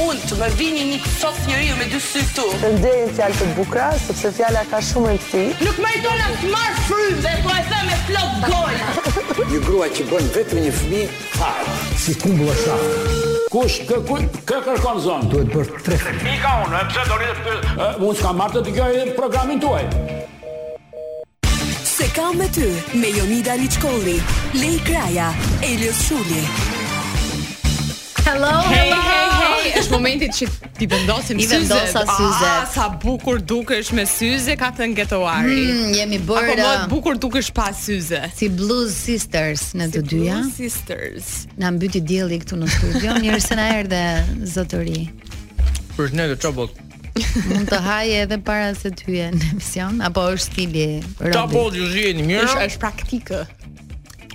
unë të më vini një sot njeriu me dy sy këtu. Përnderin fjalë të bukura, sepse fjala ka shumë rëndësi. Nuk më dona të marr frymë dhe po e them me plot gojë. Një grua që bën vetëm një fëmijë fare. si kumbulla shafë. Kush kë kë kë kërkon zonë? Duhet bërë tre Pika unë, e pse do rritë të pyet? Unë s'kam marrë të dëgjoj programin tuaj. Se kam me ty me Jonida Liçkolli, Lej Kraja, Elios Shuli. Hello, hey, hey, hey, është momenti që ti vendosim I syzet. vendosa Ah, syzet. sa bukur dukesh me syze, ka thënë Getoari. Mm, jemi Apo bërë më bukur dukesh pa syze. si Blues Sisters në të dyja. Blue Sisters. Na mbyti dielli këtu në studio, mirë se na erdhe zotëri. Për ne the trouble. Mund të haje edhe para se ty je në emision apo është stili Robi? Trouble ju jeni Është mirë. pra- është praktikë.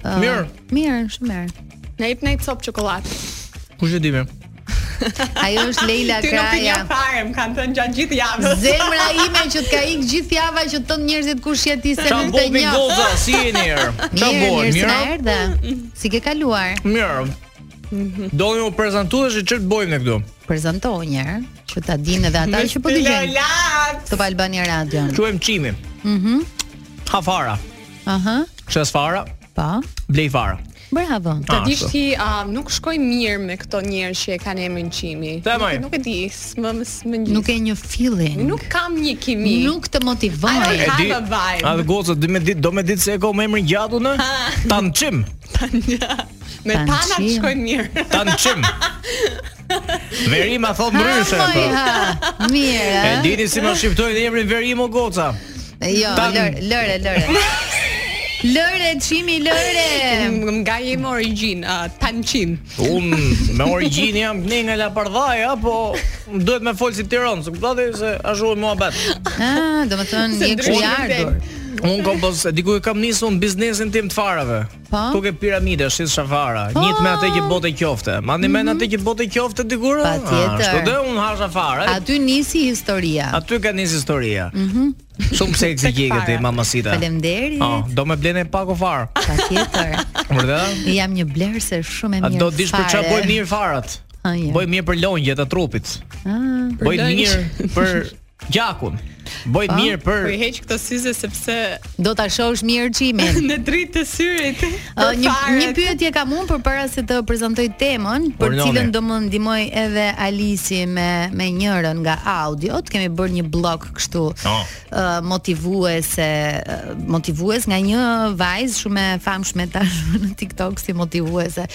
Ë, mirë. Oh, Mirë, shumë mirë. Ne jep ne cop çokoladë. Kush e di më? Ajo është Leila Ty nuk i Kraja. njeh fare, më kanë thënë gjatë gjithë javës. Zemra ime që të ka ikë gjithë java që të thonë njerëzit kush je ti se Qa nuk të bobi njoh. goza, si jeni erë? Qa Mirë, bojë, mirë se na mirë? erdhe. Si ke kaluar? Mirë. Mhm. Do më u prezentu dhe që që të bojmë ne këtu. Prezantohu një herë, që ta dinë edhe ata që po dëgjojnë Çokoladë. Top Albania Radio. Quhem Çimi. Mhm. Hafara, Aha. Shesfara, Po. Blejfara. Bravo. Ta Ah, dish ashtu. ti, a, nuk shkoj mirë me këto njerë që e kanë emrin Çimi. Temaj. Nuk, nuk e di, s'më s'më ngjit. Nuk e një fillin. Nuk kam një kimi. nuk të I motivoj. don't E di. have a vibe. A dhe goca, do me ditë, do me ditë se e ka me emrin gjatu në? Tan Çim, Me Tan tanat Qim. shkoj mirë. Tan Çim. Verim a thot ndryshe. Ha, po. moj, ha. Mirë. E a? dini si më shqiptojnë emrin Verim o goca? Jo, Tan- lëre, lëre, lëre. Lëre, çimi, lëre. M- Nga jemi origjinë, uh, tanqim. Unë me origjinë jam ne nga Lapardhaja, po më duhet me fol si Tiranë, se kuptoj se ashtu e muhabet. Ah, do të thonë Se je ndryshim kështu i ardhur. Unë kam pas diku e kam nisur unë biznesin tim të farave. Po? Tu ke piramide, shis shafara, njët me atë që bote qofte. Mandi me Mhm. atë që bote qofte dikur. ah, Patjetër. Ashtu dhe unë hasha fare. Aty nisi historia. Aty ka nis historia. Mhm. Shumë seksi Tek ke fara. ti mamasita. Faleminderit. Ah, do me blene pak o farë. Patjetër. Vërtet? Jam një blerëse shumë e A mirë. do dish për çfarë po fare. boj mirë farat? Ah, ja. Boj mirë për lëngjet e trupit. Ah, Boj lëngj. mirë për gjakun. Boj mirë për Po i heq këto syze sepse do ta shohësh mirë çimin. në dritë të syrit. Ë, për një një faret. pyetje kam unë përpara se të prezantoj temën, për Urnone. cilën do më ndihmoj edhe Alisi me me njërën nga audiot. Kemi bërë një blog kështu Oh. ë, motivuese, ë, motivues nga një vajzë shumë e famshme tash në TikTok si motivuese.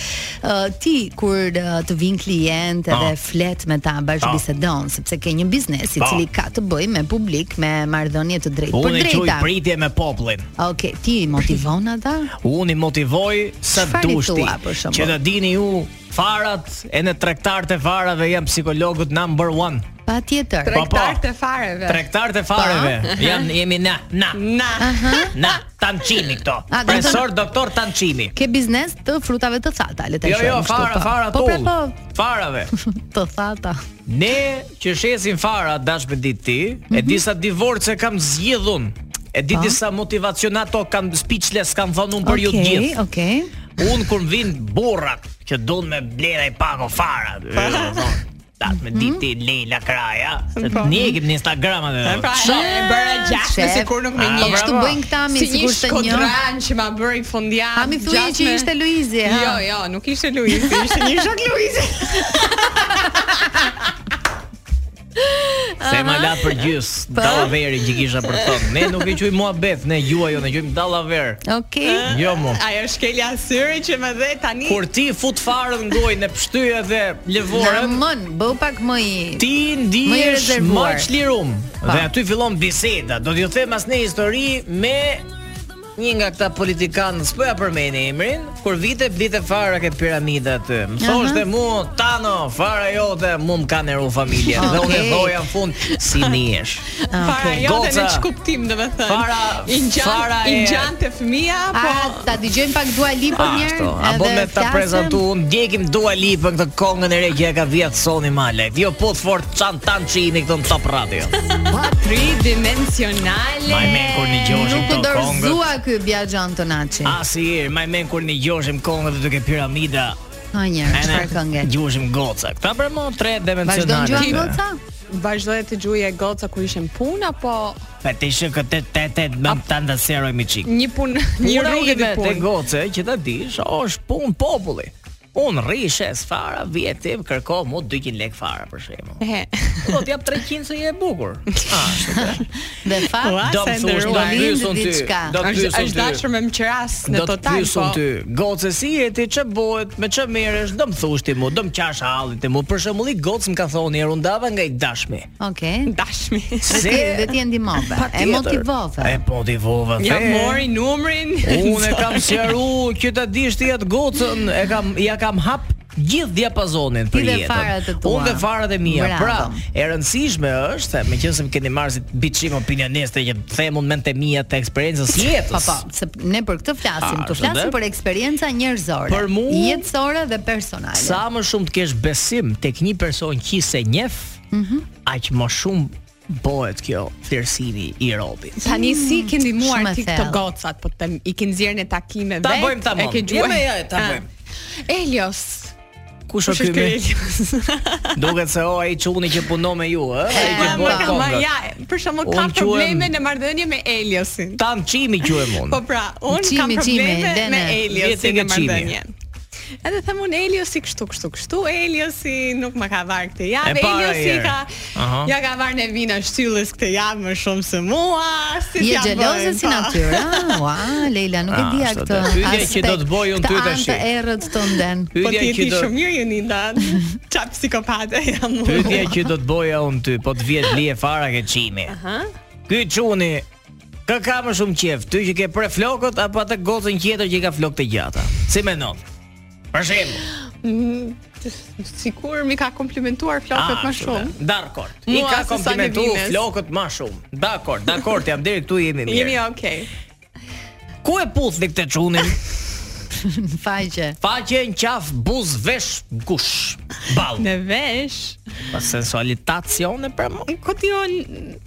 Ë, ti kur ë, të vinë klient edhe Oh. flet me ta bashkë Oh. bisedon, sepse ke një biznes i Po. cili ka të bëjë me publik, me marrëdhënie të drejtë për Unë e quj drejta. pritje me popullin. Okej, ti motivon ata? Unë i motivoj sa Çfarë i dushti. thua, për shembull? Që të dini ju, farat e në tregtarët e farave jam psikologët number one. Patjetër. Po, po. Tregtar të fareve. Tregtarët e Po. fareve jam jemi na, na, Na. na, tanqimi këto. A, do të Profesor doktor tanqimi. Ke biznes të frutave të thata, le ta Jo, jo, quajmë kështu, fara, po. fara Po pra tull. po, Farave. të thata. Ne që shesim fara dash me ditë ti, e disa divorce kam zgjidhun. E di Po. disa motivacionato kam speechless kam thënë unë për ju të Okej, gjithë. Okej. Unë kur vin burrat që don me blera i pako fara. Datë me ditë ti Leila Kraja Se të njekim në Instagram atë E Pra, e bëra gjashtë Shef. sikur nuk më Ah, njeh. Kështu bravo. bëjnë këta mi Si një sikur të një. shkodran që ma bëri fundjavë. A mi thuaj gjasme. që ishte Luizi, ha? Jo, jo, nuk ishte Luizi, ishte një shok Luizi. Se ma la për gjys Dallaverin që kisha për thonë Ne nuk i quj muhabet Ne juaj ne quj dallaver Okej. Jo mu Ajo shkelja syri që më dhe tani. Kur ti fut farën në gojë në pështyje dhe lëvorën Ramon, bëu pak më i Ti Më i ndihesh rezervuar. më çlirum Dhe aty fillon biseda Do t'ju them as një histori me një nga këta politikanë, s'po ja përmeni emrin, kur vite blite fara ke piramida aty. Më thoshte mua, Tano, fara jote, mu më kanë eru familje. Dhe unë e Okej. thoja në fund, si nihesh. Ah, Para jote në Goca. çkuptim, domethënë. Para- i ngjant, fara i e- ngjant e fëmia, A, po ta dëgjojmë pak Dua Lipa një herë? Ah, Ashtu, a bon me ta prezantu, unë ndjekim Dua Lipa këtë kongën e re që ja ka vjetë Soni Malek. Jo po të fort çan tan çini këtu në Top Radio. tridimensionale. Maj men kur një gjoshim Nuk u këto kongët. Ah, dorëzua ky Bjaxhan Tonaçi. er, Asir, maj men kur një gjoshim kongët dhe duke piramida Ha njërë, çfarë kënge? Gjushim goca. Këta për mua tre Vazhdon dimensionale. gjua goca? Vazhdoj të gjuaj e goca kur ishim punë apo Pa të ishë këtë të të të më të ndësero e mi qik. një punë, një Unë rrugë rrugët të e të punë. goce që ta dish, është punë populli. Unë rrishe sfara, vje ti kërko mu 200 lek fara për shembull. He. Do t'jap 300 se je e bukur. Ashtu. Dhe fakt, Ua, Do se më thush, do ndërruan. pyesën ty. Diçka. Do Është është pyesën ty. dashur me mqras në Do të total, pyesën po. ty. Goce si je ti, ç'e bëhet, me ç'e merresh, do më thush ti mu, do më qash hallin ti mu. Për shembull, i gocë më ka thonë herë undava nga i dashmi. Okej. Dashmi. Dhe ti dhe ti e ndihmove, e Patjetër. motivove. E motivove. Ja the. mori numrin. Unë e kam sqaru që ta dish ti atë gocën, e kam ja kam hap gjithë diapazonin për Ti dhe jetën. farat e tua. Unë dhe farat e mia. Bravo. Pra, e rëndësishme është se meqense më keni marrë si biçim opinioniste që themun mend të mia të eksperiencës së jetës. Po po, se ne për këtë flasim, A, të është flasim dhe? për eksperienca njerëzore, Ah, Për mu- jetësore dhe personale. Sa më shumë të kesh besim tek një person që se njef, Mhm. aq më shumë bëhet kjo thirrsimi i robit. Tani si ke Shumë ndihmuar e ti këto thellë. gocat, po të i ke nxjerrë në takime Ta vet, bëjmë tamam. E ke gjuar. Jemi, ja, Jo, ta Ah. bëjmë. Elios. Kush Kush është ky me? Elios? Duket se o ai çuni që punon me ju, ë? Ai që Ma, bën Ma, ka- ma, këngët. ja, për shembull ka Unë quhem- probleme në marrëdhënie me Eliosin. Tan çimi quhem unë. Po pra, un Çimi, kam çimi, probleme Dene. me Vjeti Eliosin nga në çimi. marrëdhënie. Edhe them unë Eliosi kështu kështu kështu, Eliosi nuk më ka varë këtë E javë, para Eliosi herë. ka Aha. ja ka varë në vina shtyllës këtë javë më shumë se mua, si Je t'ja xheloze bëjmë, si po. natyrë. Ah, Ua, Leila, nuk e Ah, dija është këtë. dhe. Pyetja që do të bëj unë ty tash. Këtë anë të errët të nden. Po ti e Pyetja që di do shumë mirë Jonida. Çap psikopate jam unë. pyetja që do të boja unë ty, po të vjet lije fara ke çimi. Aha. Ky çuni kë ka më shumë qejf, ty që ke pre flokët apo atë gocën tjetër që i ka flokë të gjata? Si mendon? Për shembull. Sigur mi ka komplimentuar flokët më ashtu shumë. Ah, po dhe. Dakor. I Mua ka se sa komplimentu në Vines. flokët më shumë. Dakor, dakor, jam deri këtu jemi mirë. Jemi okay. Ku e puthni këtë çunin? Në faqe. Faqe në qaf, buz, vesh, gush, ball. Në vesh. Pas sensualitacione për mua. Kotion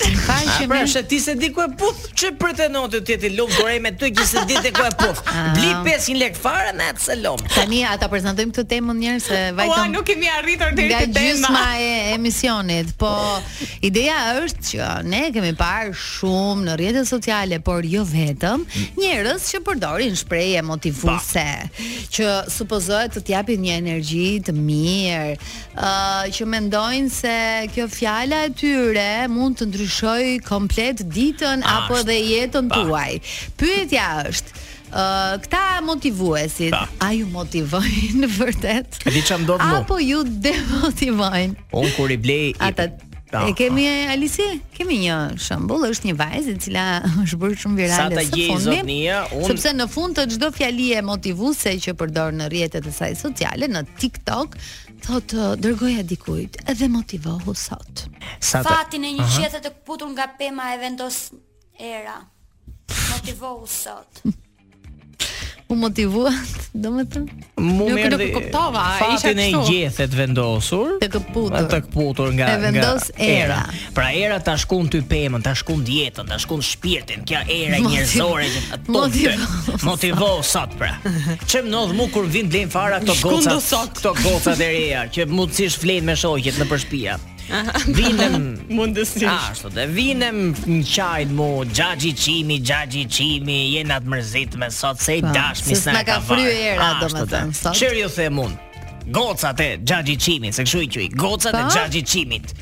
A Faqe pra me se ti se di ku e puth, ç'e pretendon të ti lum gorej me ty që se di te ku e puth. Ah. Bli 500 lek fare në atë selom. tani ata prezantojmë këtë temën njerë se Ua, vajton nuk kemi arritur deri nga te tema. gjysma e emisionit, po ideja është që ne kemi parë shumë në rrjetet sociale, por jo vetëm, njerëz që përdorin shprehje motivuese, që supozohet të t'japin një energji të mirë, ë që mendojnë se kjo fjala e tyre mund të ndryshojë komplet ditën apo Ashtu. edhe jetën Pa. tuaj. Pyetja është Uh, këta motivuesit, Pa. a ju motivojnë në vërtet? E di ç'a më ndodh mu. Apo ju demotivojnë? Un kur i blej i- Ata Ah, E kemi Alisi, kemi një shembull, është një vajzë e cila është bërë shumë Sa ta virale gjej fundi, zotnia, unë- sepse në fund të çdo fjalie motivuese që përdor në rrjetet e saj sociale, në TikTok, thotë dërgoja dikujt edhe motivohu sot. Sa ta Fatin e një qethe të kputur nga pema e vendos era. Motivohu sot. U motivuat, domethënë, mu Nuk- merdi nuk e kuptova, isha fatin e kështu. gjethet vendosur. të këputur. Të kputur nga E vendos nga era. Pra era ta shkon ty pemën, ta shkon dietën, ta shkon shpirtin, kjo era Motiv- njerëzore që ta tunë ty. motivo Motivo sot pra. Çem ndodh mu kur vin blejn fara këto Shkon goca, do sot. këto goca e reja që mundësisht flejnë me shoqjet nëpër shtëpi. Vinën Mundësisht. Ashtu dhe vinem në qajt mu Gjaxhi qimi, gjaxhi qimi Jena të mërzit me sot Se i Pa, dashmi se s'na s'na ka ka varë. fry era, Ashtu domethënë, dhe. sot. Qërë ju them unë Gocat e gjaxhi qimit Se këshu i quj Gocat e Pa? Mhm. gjaxhi qimit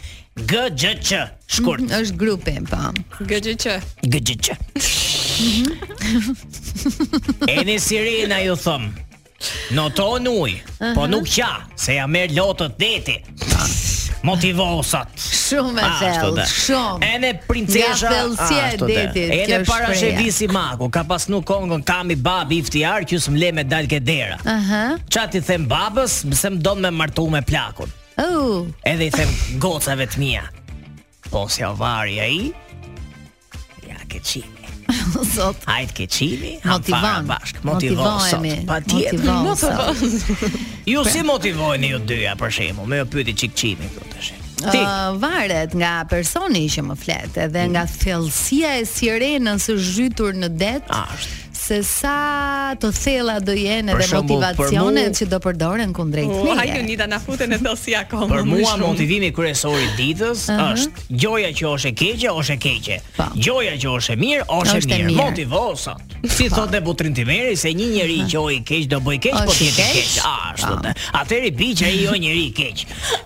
G, G, Q Shkurt është grupi, po. GJQ. G, G, Q Mhm. E një sirena ju thëm Noton uj Po nuk qa Se ja merë lotët deti Motivosat Shumë e Ah, Ashtu thellë, dhe. shumë. Ene princesha. Nga thellësia e ashtu dhe. detit, kjo Ene është parashevisi maku, ka pasnu kongën kami babi i ftiar që s'mle me dal ke dera. Aha. Ça ti them babës, se më don me martu me plakun. Oh, Edhe i them gocave të mia. Po si avari ai? Ja ke qimi. zot. Hajt ke qimi, ham fara Motivon. bashk, motivon sot. Motivohemi, Patjetër. motivon sot. Ju si motivojeni ju dyja për shembull? Më jo pyeti çik qimi këtu tash. Ti, Mm. Ë, varet nga personi që më flet, edhe nga thellësia e sirenës së zhytur në det. Ashtu. Se se sa të thella do jenë Për edhe shembull, për motivacionet mu- që do përdoren kundrejt Oh, U, hajde neje. Nida na futen e dosi akoma. Për më mua shumë. motivimi kryesor i ditës Aha. është gjoja që është e keqe, është e keqe. Po. Gjoja që është e mirë, është, Është e e mirë. mirë. Po. Motivo sot. Si thotë Butrin Timeri se një njeri i gjoj i keq do bëj keq, po Është ti je keq. keq. Ashtu. Po. Ah. dhe. Atëri bi që ai jo njeri i keq.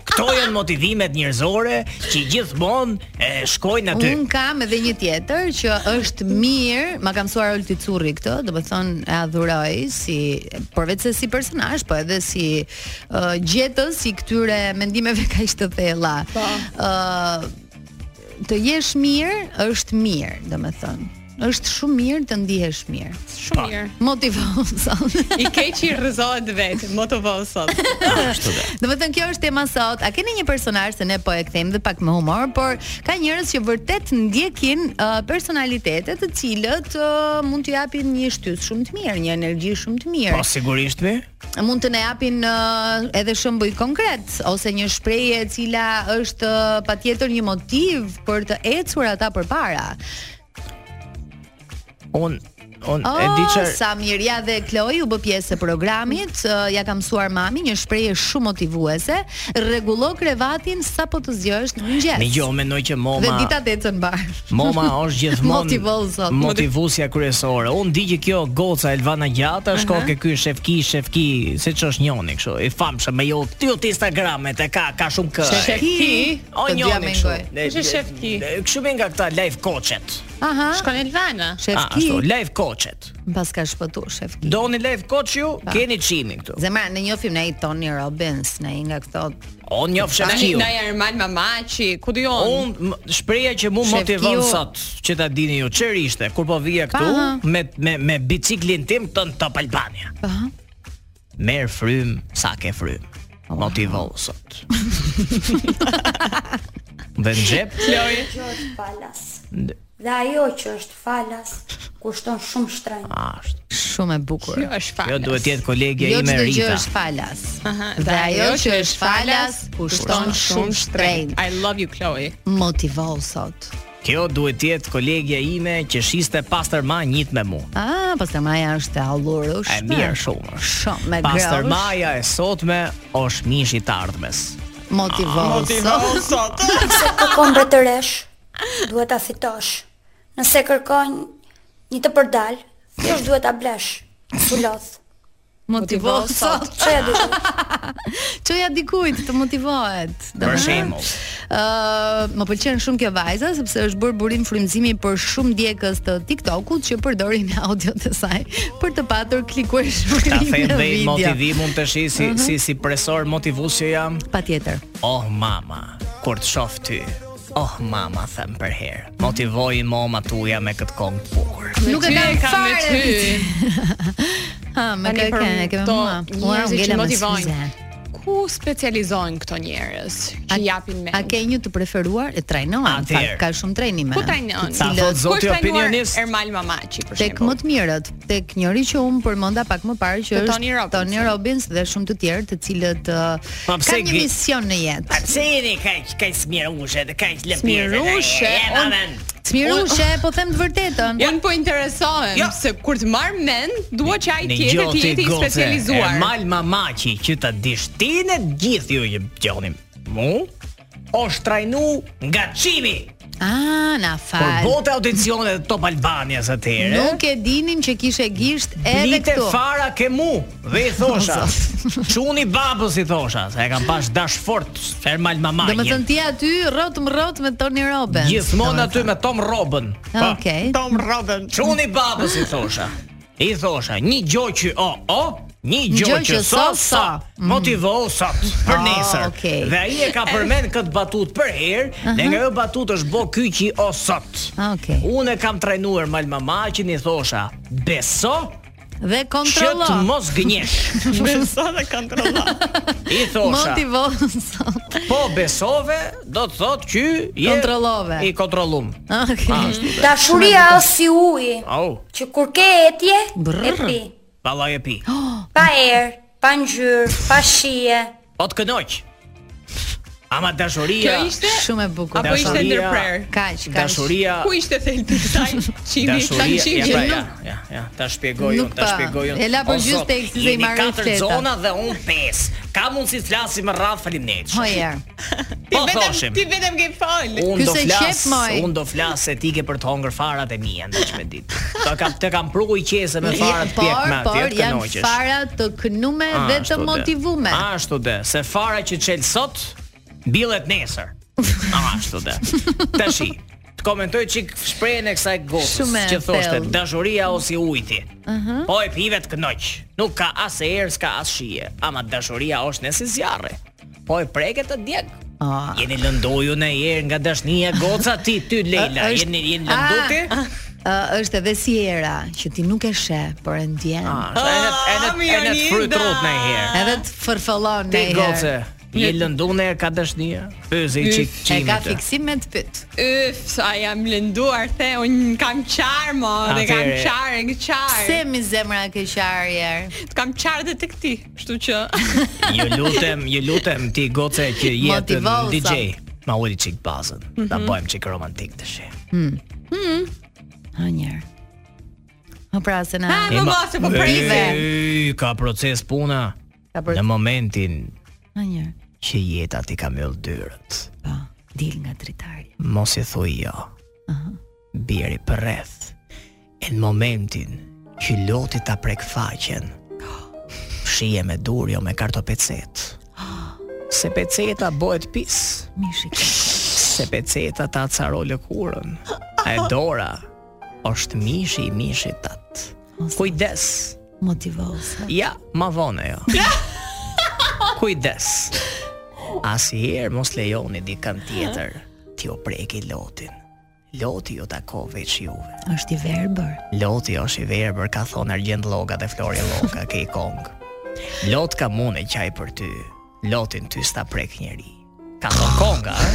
Kto janë motivimet njerëzore që gjithmonë e shkojnë aty. Un kam edhe një tjetër që është mirë, ma ka mësuar Olti Curri këtë, do të thonë e adhuroj si përveç se si personazh, po edhe si uh, gjetës i këtyre mendimeve kaq të thella. Ë të jesh mirë është mirë, do të thonë. Është shumë mirë të ndihesh mirë. shumë mirë. Motivon son. I keq i rrëzohet vetë, motivo sot. Do të thënë kjo është tema sot. A keni një personazh se ne po e kthejmë dhe pak me humor, por ka njerëz që vërtet ndjekin uh, personalitete të cilët uh, mund t'ju japin një shtys shumë të mirë, një energji shumë të mirë. Po sigurisht mi. Mund të ne japin uh, edhe shembuj konkret ose një shprehje e cila është uh, patjetër një motiv për të ecur ata përpara. Un un Oh, e di çfarë Samiria dhe Kloi u bë pjesë e programit, uh, ja ka mësuar mami një shprehje shumë motivuese, rregullo krevatin sapo të zgjohesh në mëngjes. Mi gjo, mendoj që jo, moma Dhe dita të ecën bar. Moma është gjithmonë Motivon sot. motivusja kryesore. Unë di që kjo goca Elvana Gjata shko ke ky shefki, shefki, se ç'është njoni kështu. I famshëm me jo ti ot Instagramet e ka ka shumë kë. Shefki? o Të dyja njoni kështu. mengoj. Ne- Kush është shefki? ne- Kështu bën nga këta live coachet. Aha. Shkon Elvana. Shef Ah, ki. ashtu, live coachet. Pas ka shpëtu Shef ki. Doni live coach ju, keni çimin këtu. Zemra, ne njohim ne i Tony Robbins, ne i nga këto. Unë njoh Tani shefkiu. na Arman Mamaçi, ku dion? Unë m- shpreha që mu Shefkiu- motivon sot, që ta dini ju, çfarë ishte kur po vija këtu Aha. me me me biciklin tim tën Top Albania. Aha. Merë frym sa ke frym. Oh. Motivo sot. Dhe në gjep, Kloj. Kjo është falas. Dhe ajo që është falas kushton shumë shtrenjtë. ashtë. Shumë e bukur. Kjo është fakt. Kjo duhet tjetë kolegja Jo ime çdo gjë Rita. është falas. Aha, Dhe ajo që është falas kushton shumë I shtrenjtë. love you Chloe. Motivon sot. Kjo duhet tjetë kolegja ime që shiste pastër ma njët me mu. Ah, pastaj Maja është e E allurushme. mirë shumë. Shumë me Pastër grosh. maja e sotme është mish i të ardhmes. Motivon sot. sot. Nëse kërkon mbretëresh, duhet ta fitosh. Nëse kërkon një të përdal, thjesht duhet ta blesh. Sulodh. Motivon sot. Çfarë do të Çoja dikujt të motivohet. Për domethënë. shembull. Ë, më pëlqen shumë kjo vajza sepse është bërë burim frymëzimi për shumë ndjekës të TikTokut që përdorin audiot e saj për të patur klikuar Ta shpërim them në dhe i video. motivimun të shi si, si, si presor motivus që jam. Patjetër. Oh mama, kur të shoh ty. Oh mama, them për herë. Motivoi mama tuja me këtë këngë të bukur. Nuk e kam fare. Ha, më Tani ke për ke e kemi këto mua. Ua, njerëzit që ngela më motivojnë. syze. Ku specializohen këto njerëz A- që japin me? A ke një të preferuar? E trajnohen. në fakt, Atëherë. Ka shumë trajnime. Ku trajnohen? të Ta cilët- thot Ku zoti është trajnuar jo, opinionist. Ermal Mamaçi për Tek më shembull? të mirët, tek njëri që un përmenda pak më parë që Te është Tony Robbins. Tony Robbins dhe shumë të tjerë të cilët uh, Pa, pse kanë një gri- mision në jetë. pse jeni kaq kaq smirushe dhe kaq lëpirë? Smirushe, unë- Smirushe, po them të vërtetën. Unë po interesohem Jo. se kur të marr mend, dua që ai tjetër të jetë i specializuar. Mal mamaqi që ta dish ti në gjithë ju që gjoni. Mu është trajnu nga çimi. Ah, na Por fal. bote audicionet e Top Albanias atëherë. Nuk e dinim që kishe gisht edhe Lite këtu. fara ke mu Dhe i thosha O, Quni babës i thosha Se e kam pash dash fort Ermal Do mamaqi të thënë ti aty rrot më rrot me Tony Robbins. Gjithmonë aty me Tom Robën. Ah, Okej. Tom Robin. Çuni babës i thosha. I thosha, një gjë që o o, një gjë që sa sa motivo sot për Mm. Ah, nesër. okej. Dhe ai e ka përmend këtë batut për herë, dhe nga ajo batut është bë kyçi o sot. Ah, okej. Unë e kam trajnuar mal mama që i thosha, beso Dhe që kontrollo. të mos gënjesh. Besa dhe kontrolla. I thosha. Motivon sot. Po besove, do të thotë që je Kontrollove. I kontrollum. Okej. Dashuria është si uji, Au, që kur ke etje, e Brrr. pi. vallaj e pi. Pa erë, pa ngjyrë, pa shije. O të kënoq. Ama dashuria, Kjo ishte Shumë e bukur. Apo ishte Dashuria. ndërprer. Kaq, kaq. dashuria, Ku ishte thelbi i kësaj? Çimi, kanë dashuria, qenë ja, që pra, ja, nuk ja, ja, ta shpjegoj Nuk unë, ta pa. shpjegoj unë. E la për O, gjysmë zot, tekstin dhe i jeni marrë katër fletat. zona dhe unë 5. Ka mundësi të flasim me radhë faleminderit. Hoja. ti Po vetëm thoshim. ti vetëm ke fal. Ky Unë do se flas, qep, moj. unë do flas etike për të hongër farat e mia ndaj me ditë. Ta kam të kam pruku i qese me farat pjek Ah, me por atje të janë kënoqesh. fara të kënume dhe Ashtu të de. motivume. Ashtu de, se fara që çel sot mbillet nesër. Ashtu de. Tashi, të komentoj çik shprehjen e kësaj gocës Shumë e që thoshte thellë. dashuria ose ujti. Po e pive të kënoq. Nuk ka as erë, s'ka as shije, ama dashuria është nëse zjarri. Po e preket të djeg. Ah. Jeni lëndoju në herë nga dashnia goca ti ty Leila, Ë, është- jeni jeni lëndu ti? Ah, ah, është edhe sierra që ti nuk e sheh, por e ndjen. Ah, e në e në e në Mirjonida! fryt rrot në herë. Edhe të fërfëllon Ti në goce, je lëndu në herë ka dashnia. Pyezi çik E çimit. ka fiksim me të pyet. Yf, sa jam lënduar the, un kam qar mo, dhe kam Atëre. qar, e ke qar. Pse mi zemra ke qarjer? Të kam qar dhe tek ti, kështu që Ju lutem, ju lutem ti goce që jetë në Motivo, DJ. Ma uli çik bazën. Ta Mhm. bëjmë çik romantik tash. Ha njerë. O pra se na Ha, Po, mos e po prive. Ej, Ka proces puna. ka për Në momentin ha njerë. që jeta ti ka mbyll dyrët. Po, dil nga dritari. Mos i thuj jo. Biri për rreth. E në momentin që loti ta prek faqen, shije me dur jo me kartopecet. Se peceta bëhet pis, Mishi. se peceta ta caro lëkurën. E dora është mishi i mishit tat. Kujdes, Motivose. ja, ma vonë jo. Kujdes. Asnjëherë mos lejoni dikën tjetër ti u preki lotin. Loti ju tako veç juve. është i verbër. Loti është i verbër, ka thonë Argjend Lloga dhe Flori Lloga, ke i kong. Lot ka mune qaj për ty, lotin ty s'ta prek njeri. Ka thonë konga, eh?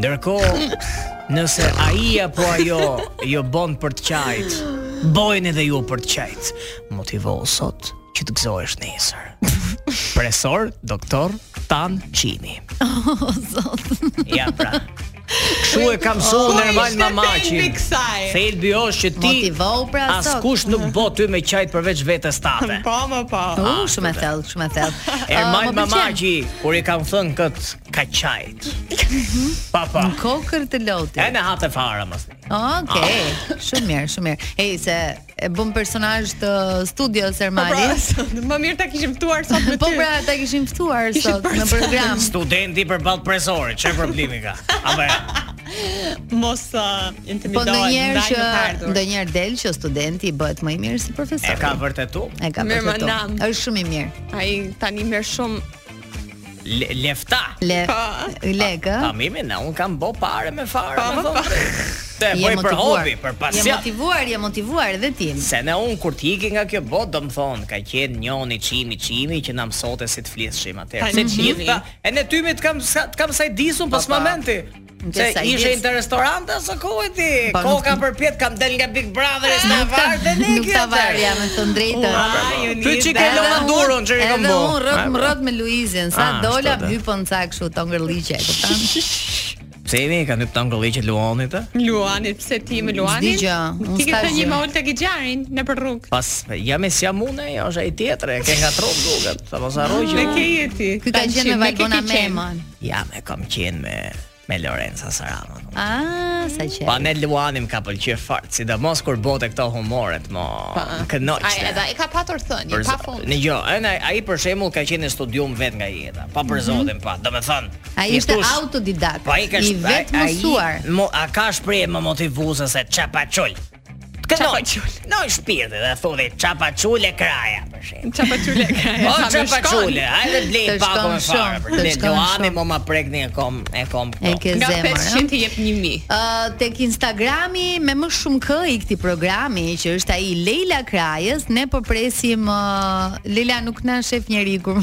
Ndërkohë, nëse ai apo ajo jo bën për të qajt, bojnë edhe ju për të qajt. Motivohu sot që të gëzohesh nesër. Presor, doktor, tan, qimi. Oh, zot. Ja pra. Kështu e kam mësuar normal mamaqin. Ku ishte thelbi kësaj? Thelbi është që ti Motivohu pra sot. Askush nuk bë ty me qajt përveç vetes tate. po, më po. U, Oh, shumë e thellë, shumë e thellë. Ermal Ë, Ah, më pëlqen. Mamaqi kur i kam thënë kët ka qajt. Mhm. Pa pa. Kokër të E lotit. në hatë e fara mos. Okej, shumë mirë, shumë mirë. Ej, se e bëm personazh të studios Po, pra, Ermali. sot, Më mirë ta kishim ftuar sot me ty. Po pra, ta kishim ftuar Kishit sot në program. Studenti përballë presorit, çfarë problemi ka? Apo e, mos uh, Po intimidohet. ndonjëherë ndaj që nuk ardhur. ndonjëherë del që studenti bëhet më i mirë si profesor. e ka vërtetuar? E ka Mirë, vërtetuar. manam. Është shumë i mirë. Ai tani merr shumë Le- Lefta. Le Pa. lek, ë? Pa mimi, na un kam bë pare me fare, Pa, me po, thonë. Te bëj për hobi, për Je pasion. motivuar, je motivuar edhe ti. Se ne unë kur t'iki nga kjo botë, do më thonë, ka qenë njoni qimi qimi që na mësote si të flishim atëherë. Se Tani të gjitha, e në tymi të kam, sa- të kam saj disun pas Po, po. momenti. Në Se sa i ishe dis. në restorante aso kohë ti. Po, nuk- Koka për pjetë kam del nga Big Brother, e s'na Nuk ta varë dhe ne nuk ta varja me të drejtën. Ty që ke Edhe lëma unë- durën që i kam Edhe bo. unë rrot më rrot me Luizin, sa Ah, dola ashtu, da. hypën ca kështu tongërlliqe, e kupton? Pse jemi, ka nëpë të ngëlli që luanit, e? Luanit, pse ti me Luanin? S'di gjë, unë Ti ke s'ka thënë një gjë. me Olta Gixharin në për rrugë. Pas, jam e si jam unë, e, është ai tjetër, e ke nga tropë duket, sa mos harroj që Me unë- ke jeti? Ky ka Tanë qenë me që me ke Valbona ke qenë. Memon. Ja, me kam qenë me, me Lorenza Sarama. Ah, sa qe. Pa ne Luanim ka pëlqyer fort, sidomos kur bote këto humoret, mo. Kënoq. Ai edhe e ka patur thënie, pa fund. Në jo, ai ai për shembull ka qenë në studium vet nga jeta, pa për zotin, pa. Domethën, Ai Mhm. ishte autodidakt. Po ai ka I shp- vetë ai- mësuar. ai mo- a ka shprehje më motivuese se çapaçul. Çapaçul. No, i shpirti dhe thodi çapaçul e kraja për shemb. Çapa çule ka. Po sa më shkon. çapaçul, hajde blej Të pak shkon më fare. shumë, për të ne shkon Luani shumë. mo ma prekni e kom, e kom. E këto. ke Nga zemër. 500 ëh? i jep 1000. Ë, tek Instagrami me më shumë k i këtij programi që është ai Leila Krajës, ne po presim ë, Leila nuk na shef njeri kur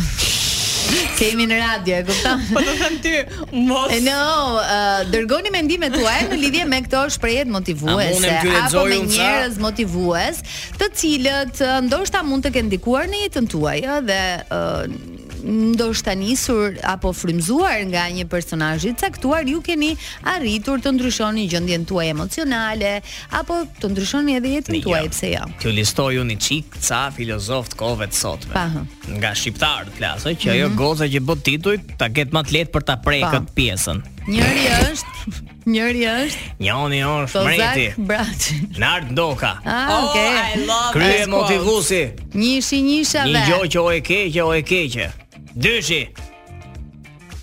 kemi në radio, e kupton? Po do them ty, mos E, No, uh, dërgoni mendimet tuaja në lidhje me këto shprehje të A motivuese munem apo ky lexoj me unë ca? njerëz uh, motivues, të cilët ë, ndoshta mund të kenë ndikuar në jetën tuaj, ë dhe ë uh, ndoshta nisur apo frymzuar nga një personazh i caktuar, ju keni arritur të ndryshoni gjendjen tuaj emocionale apo të ndryshoni edhe jetën tuaj, pse jo? Kjo listoj unë i çik ca filozof të kohëve të sotme. Pa, hë. Nga shqiptarët flasë, që ajo goza që bë tituj ta ketë më të lehtë për ta prej Pa. këtë pjesën. Njëri është, njëri është Njoni është mreti. Kozak Braçi. Nart ndoka. Ah, okay. Oh, Krye motivuesi. Njishi Një njishave. gjë që o e keqe, o e keqe. Dyshi.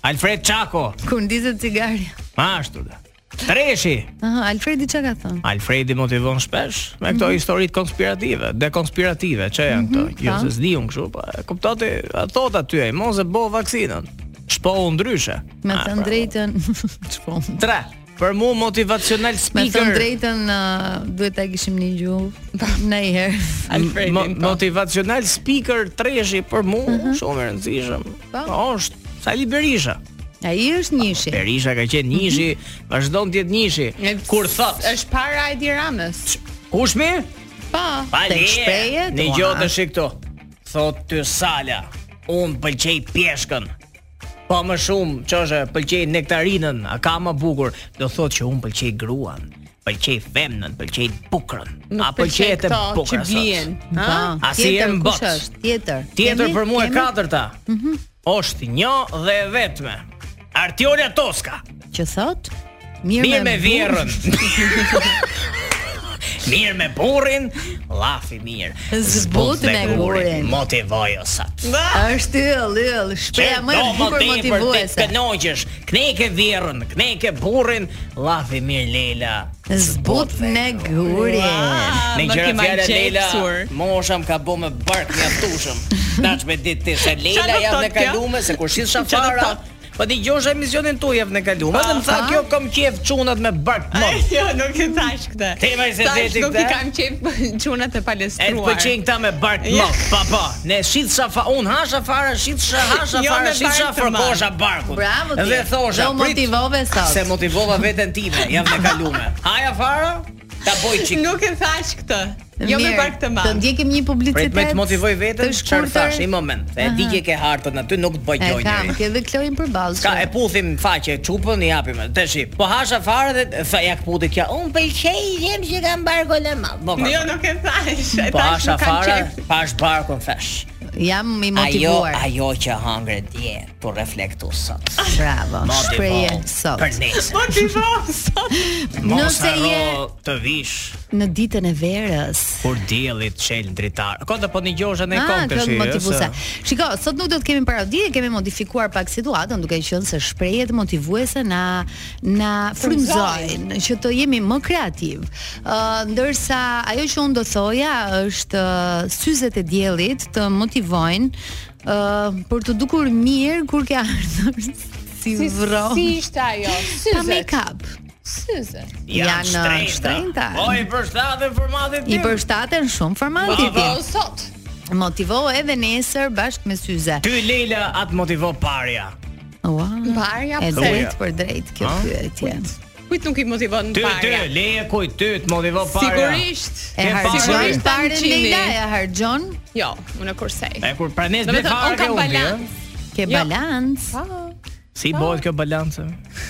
Alfred Çako, Kur ndizet cigari. ashtu. da. Treshi. Aha, Alfredi çka ka thënë? Alfredi motivon shpesh me Mhm. këto historitë konspirative, dekonspirative, që janë këto. Jo pa. se s'di unë kështu, po e kuptoti, a thot aty ai, mos e bo vaksinën. Shpohu ndryshe. Me A, të pra. drejtën, çpo. Tre. Për mu motivational Me të speaker. drejtën uh, duhet ta kishim në gjuhë në një herë. Alfredin, mo- po. motivational speaker treshi për mu Mhm. shumë e rëndësishëm. Pa. Është Sali Berisha. Ai është njishi. Berisha ka qenë Mhm. njishi, vazhdon të jetë njishi. Kur thot, është para Edi Ramës. kush mi? Po. Pa Tek le. shpreje, Në tua. gjotë shi këto. Thot ty Sala, un pëlqej peshkën. Po më shumë çoshe pëlqej nektarinën, a ka më bukur. Do thot që un pëlqej gruan, pëlqej femnën, pëlqej bukrën. A pëlqejet e që bukra sot? blien. Po, A si tjetër jemi kush bot? është? Tjetër. Tjetër Kemi? për mua e Kemi? Mhm. katërta. Është një dhe e vetme. Artiola Toska. Që thot? Mirë, Mirë me burr. vjerrën. mirë me burrin, llafi mirë. Zbut me gurin. Motivoj osat. Është yll, yll, shpreha më e bukur motivuese. Kënoqesh, kneke vjerrën, kneke burrin, llafi mirë Lela. Zbut me gurin. Ah, Me më gjëra ke ma fjala Lela, gjeksur. mosha më ka bë me bark mjaftueshëm. Tash me ditë ti se Qa Lela do javën e thot kjo? kalume se kur shis Qa do shafara. thot? Po di gjosh emisionin tu javën e kalume dhe më tha pa. kjo kom qef çunat me bark mos. Jo, nuk e thash këtë. Tema i se Thash, zeti Nuk i këtë. kam qef çunat e E të palestruar. pëlqejnë këta me bark Ja. mot, pa pa. Ne shit shafa, un ha shafara, shit sha ha Jo shafara, me shit bark sha të madh. fërkosha barkun. Bravo ti. Dhe thosha, Do prit, motivove sot. Se motivova veten time, jam e kalume. Haja fara, ta boj çik. Nuk e thash këtë. Jo me Mirë, pak të Të madh. ndjekim një publicitet. Prit me të motivoj veten, të çfarë shkurtër. thash, i moment. E di që ke hartën aty, nuk të bëj E gjoj kam, njëri. ke dhe Kloin përballë. Ka e puthim faqe çupën i japim. Tash, po hasha fare dhe tha ja kputi kja. Un pëlqej jem që kam barkun e madh. Po, Jo, nuk e thash. E Po thash hasha nuk kam fare, qef. pash barkun thash. Jam i Ajo, motivuar. ajo që hangre dje, tu reflektu sot. Bravo. Shpreje sot. Për nesër. Motivon sot. po. Mos Nëse harro je- të vish Në ditën e verës. kur diellit çel dritar. Ka të po një gjosha në Ah, kom kjo tash. të motivuese. Shiko, sot nuk do të kemi parodi, e kemi modifikuar pak situatën duke qenë se shprehjet motivuese na na frymëzojnë që të jemi më kreativ. Ë ndërsa ajo që unë do thoja është ë, syzet e diellit të motivojnë ë për të dukur mirë kur ke ardhur si vro. Si ishte ajo? pa Syzet. make-up. Syzet. janë shtrenjta. Po i përshtaten formatit I tim. përshtaten shumë formatit. Po sot. Motivo edhe nesër bashkë me syze. Ty Leila atë motivo parja. Ua. Parja E pse? drejt për drejt kjo Ha? pyetje. Kujt nuk i motivon Ty ty parja? leje kuj ty të motivo parja. Sigurisht. E Ke harxhon sigurisht parën tanqini. Leila, e harxhon, Jo, unë e kursej. E kur pranes Do me ble thënë, fare unë ke kam unë. balans. bje. ke Jo. balancë. Si Po. bëhet kjo balancë?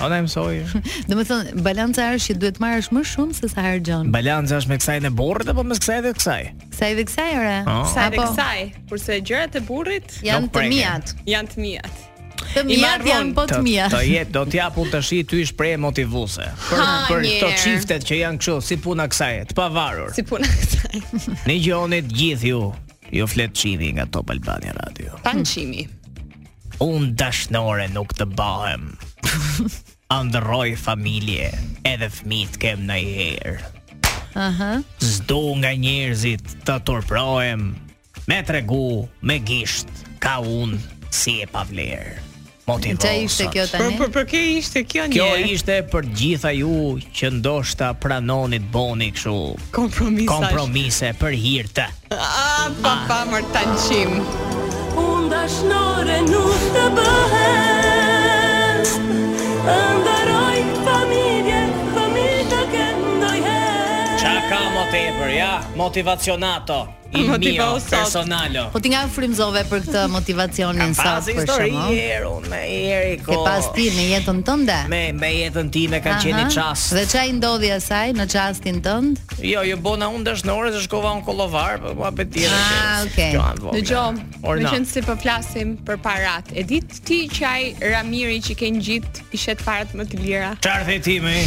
Ona e mësoi. Do të thonë balanca është që duhet marrësh më shumë se sa harxhon. Balanca është me kësaj në borrit apo me kësaj dhe kësaj? Sa i dhe kësaj ore? Oh. Sa edhe kësaj, kurse gjërat e burrit janë Nuk të preke. mijat. janë të mijat. Të mijat marrun. janë po të mijat. Të jetë do t'ja pun tash ty shpreh motivuese. Për Ha, për njerë. këto çiftet që janë kështu si puna kësaj, të pavarur. Si puna e kësaj. Ne gjoni të gjithë ju. Ju flet çivi nga Top Albania Radio. Pançimi. Un dashnore nuk të bëhem. Andërroj familje, edhe fëmijët kem në herë. Aha. Zdo nga njerëzit të turprohem, me tregu, me gisht, ka unë si e pavlerë. Motivon Çfarë ishte sot. kjo Për tani? Po, për për kë ishte kjo një? Kjo ishte për gjitha ju që ndoshta pranonit boni kështu kompromis. kompromise për hir të. Ah, pa pa mër tanqim. Çka ka më tepër, ja? Motivacionato. i mio Motivohu sot. personalo. Po ti nga u frymzove për këtë motivacionin Kam sot pas për histori shkakun. herë unë me herë Ke ko. pas ti në jetën tënde? Po. Me me jetën time ka qenë një Aha. çast. Dhe çfarë i ndodhi asaj në çastin tënd? Jo, jo bona unë dashnore se shkova unë kollovar, po ma pëtire. Ah, okay. Dëgjoj, Orna. me qenë se po flasim për parat. E dit ti që ai Ramiri që ke ngjit i shet parat më të lira. Çfarë the ti me?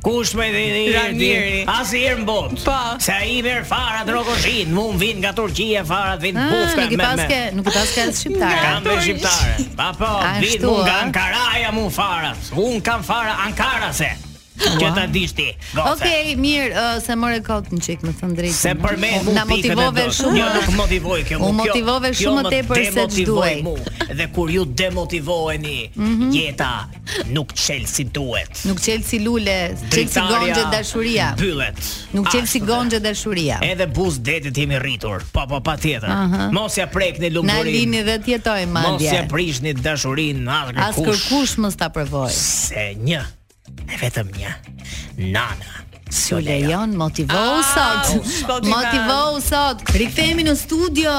Kush me dhe një herë ti? Ramiri. Asnjëherë në botë. Po. Se ai merr farat rokoshin, mund vin nga Turqia farat vin Ah, bufka nuk i me paske, me. nuk i paske as shqiptare. Kam me Turq. shqiptare. Pa po, vin Ashtu, mu nga a? Ankaraja mu farat. Un kam fara Ankarase. Që ta dish ti. goca. Okej, mirë, ë, se more kot një çik, më thën drejtë. Se për me mu na pikën e motivove dorës. shumë. Jo, nuk motivoj kjo. U mu, kjo- motivove kjo shumë më tepër se demotivoi ç'duaj. mu. Dhe kur ju demotivoheni, Mhm. jeta nuk çel si duhet. Nuk qel si lule, qel si Dritarja gongje dashuria. Mbyllet. Nuk qel si Ashtu gongje dashuria. dhe. Edhe buz detit jemi rritur. Po po patjetër. Aha. Mos ja prekni Na lumburin. lini dhe tjetoj Mos ja madje. prishni dashurinë as As kërkush mos ta provoj. Se një, e vetëm një. Nana. Ju lejon motivohu sot. s'pati Motivohu sot. Rikthehemi në studio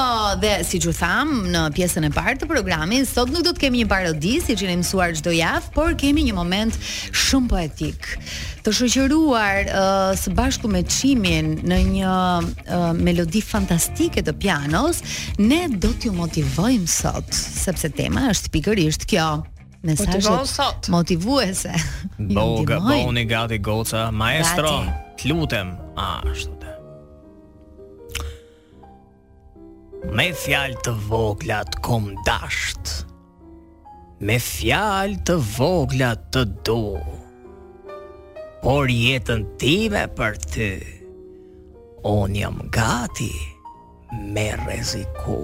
dhe siç ju tham në pjesën e parë të programit, sot nuk do të kemi një parodi siç jeni mësuar çdo javë, por kemi një moment shumë poetik. Të shoqëruar uh, së bashku me Çimin në një uh, melodi fantastike të pianos, ne do t'ju motivojmë sot, sepse tema është pikërisht kjo. Motivohu Mesazhet sot. motivuese. Ju Boga, ndihmojnë. boni gati goca, maestro, Gati. t'lutem, a, ashtu të. Me fjalë të vogla të kom dasht, me fjalë të vogla të du, por jetën time për ty, unë jam gati me reziku.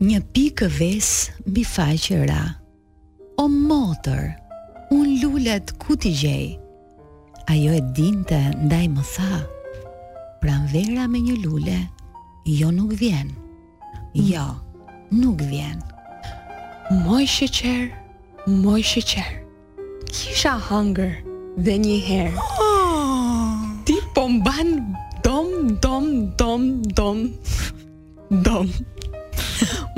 Një pikë ves mbi faqe ra. O motër, un lulet ku t'i gjej? Ajo e dinte, ndaj më tha. Pranvera me një lule, jo nuk vjen. Jo, nuk vjen. Moj sheqer, moj sheqer. Kisha hunger dhe një herë. Ti po mban dom dom dom dom dom.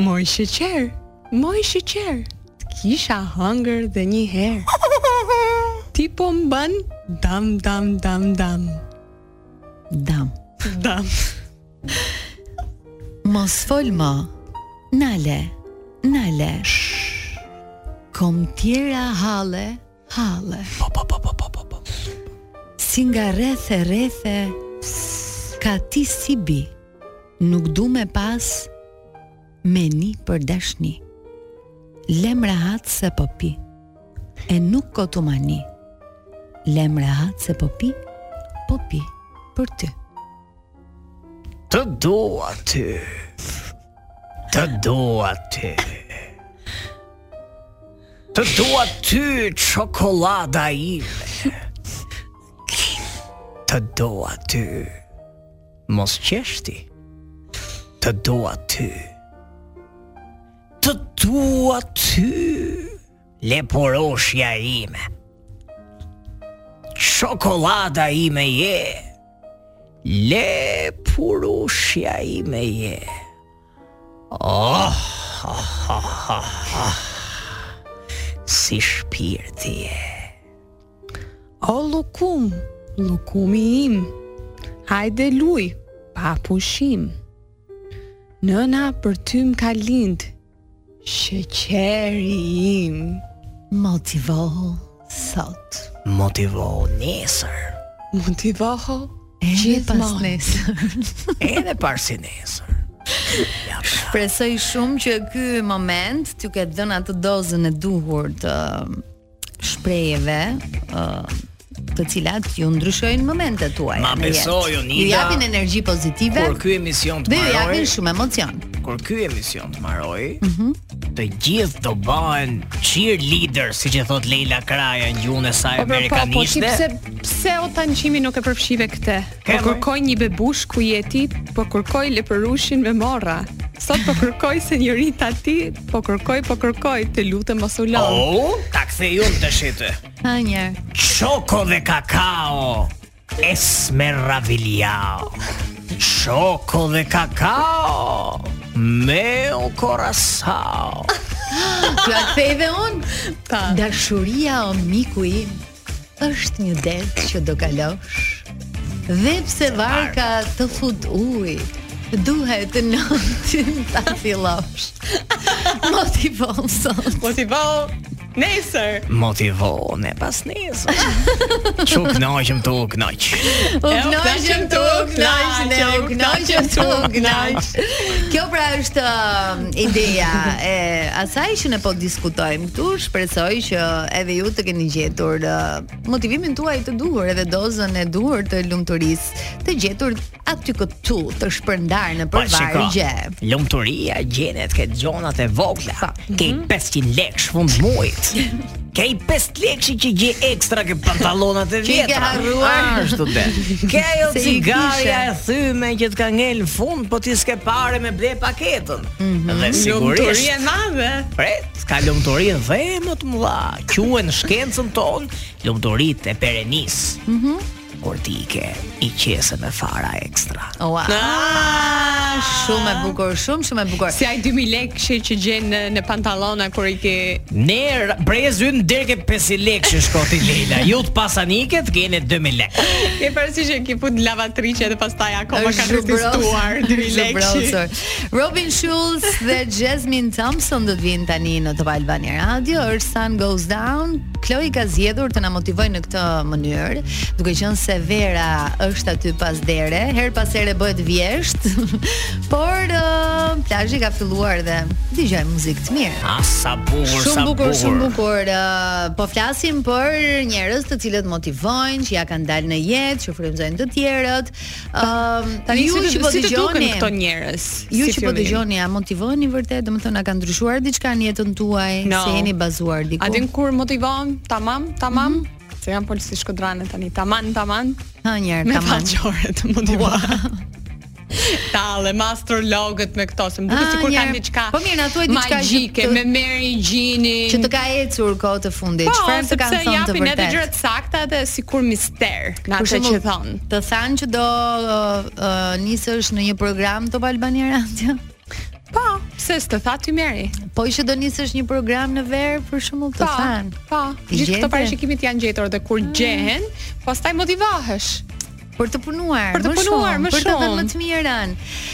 Moj sheqer, moj sheqer. Kisha hunger dhe një herë. Ti po mban dam dam dam dam Dam. dam. Mos fol më. Nale, nale. Shh. Kom tjera hale, hale. Po, po, po, po, po, po, po. Si nga rrethe rrethe Ka ti si bi Nuk du me pas Me një për dashni Lem rahat se po pi E nuk kotu mani Lem rahat se po pi Po pi për ty Të dua ty Të dua ty Të dua ty Qokolada ime Të dua ty Mos qeshti Të dua ty Të dua ty Leporoshja ime Qokolada ime je Le purushja ime je Oh, ha, ha, ha, ha. Si shpirti je O lukum, lukumi im, hajde luj, pa pushim. Nëna për ty më ka lind, sheqeri im. Motivohu sot Motivo nesër Motivoho, E pas Gjithmonë. Po, nesër Edhe parsi nesër Presoj shumë që ky moment t'ju ketë dhënë atë dozën e duhur të shprejeve ë, të cilat ju ndryshojnë momentet tuaja. Ma në jetë. besoj, Jonida, Ju japin energji pozitive Kur ky emision të dhe ju mbaroj japin shumë emocion. Kur ky emision të mbaroj Mhm. Të gjithë do bëhen cheerleader Si që thot Leila Kraja Në gjuhën e saj po po po, po ti amerikaniste pse pse o tanqimi nuk e përfshive këtë? Po Kemoj. kërkoj një bebush ku je ti, po kërkoj leperushin me morra. Sot po kërkoj senjorita ti, po kërkoj, po kërkoj, të lutem mos u lëm. Oh, ta kthejun të shite Ha një. Choco de cacao. Esmerra Viliao. Shoko dhe kakao Me o korasao Kjo atë thejve unë Pa. Dashuria o miku im është një det që do kalosh Dhe pse varka të fut uj Duhet të nëntin ta fillosh Mos i vonë sot Motivo Po nesër. Motivon e pas nesër Që knaqëm të u knaq U knoqëm tu, u knoq Ne u knoqëm tu, u knoq Kjo pra është um, ideja e asaj që ne po diskutojmë këtu Shpresoj që edhe ju të keni gjetur uh, motivimin tuaj të duhur Edhe dozën e duhur të lumëturisë Të gjetur aty këtu të shpërndar në Po shiko, përvargje lumturia gjenet ke gjonat e vogla Mhm. Ke i 500 lekë fund muajit Ke i 5 lekë që gje ekstra ke pantallonat e Që i ke vjetra harruar. Ashtu de Ke ajo Se i cigarja kishe. e thyme që t'ka ngel fund Po ti s'ke pare me ble paketën Mhm. Dhe sigurisht e madhe. Pret, ka lumturi dhe më të mëdha. Quhen në shkencën ton lumturitë e perenis. Mhm. kur ti i ke i qese me fara ekstra. Ua, Ah! shumë e bukur, shumë shumë e bukur Si ai 2000 lekë që gjen në, në pantallona kur i ke Ne r- brezyn deri ke 5 lekë që shkoti Leila. Ju të pasanike të keni 2000 lekë. ke parasysh që ke fut në lavatriçe dhe pastaj akoma ka zhubros- rezistuar 2000 lekë. zhubrosur. Robin Schulz dhe Jasmine Thompson do të vinë tani në Top Albania Radio. Her Sun Goes Down. Chloe ka zgjedhur të na motivoj në këtë mënyrë, duke qenë se vera është aty pas dere, her pas here bëhet vjesht, por uh, plazhi ka filluar dhe dëgjoj muzikë të mirë. A sa bukur, Shumë sa bukur, bukur. shumë bukur. Uh, po flasim për njerëz të cilët motivojnë, që ja kanë dalë në jetë, që frymëzojnë të tjerët. Ëm Tani ju si që të- po si të duken dëgjoni, këto njerëz? ju si që po fillim? dëgjoni, a motivoni vërtet, domethënë a ka ndryshuar diçka në jetën tuaj, No. se jeni bazuar diku? A din kur motivon? Tamam, tamam. Mhm. Se janë polë si shkodrane tani, taman, taman, ha një herë me kam. faqore të motivon. Talle, me astrologët me këto, se më Ah, duket sikur njerë. kanë diçka. Po mirë, na thuaj diçka që magjike të- me Mary Gjinin. Që të ka ecur kohë të fundit, Po, çfarë të kanë sepse thënë të japin edhe gjëra vërtetë? të sakta dhe sikur mister, në atë Për që shembull, thon. Të thanë që do uh, uh, nisësh në një program Top Albania Radio. Po, pse s'të tha ty Mary? Po që do nisësh një program në verë për shembull të Po, thanë. po. I Mm. Gjithë gjete? këto parashikimit janë gjetur dhe kur gjehen, pastaj motivohesh. Për të punuar, Për të më punuar, shumë, më Për të dhënë shumë. më të mirën.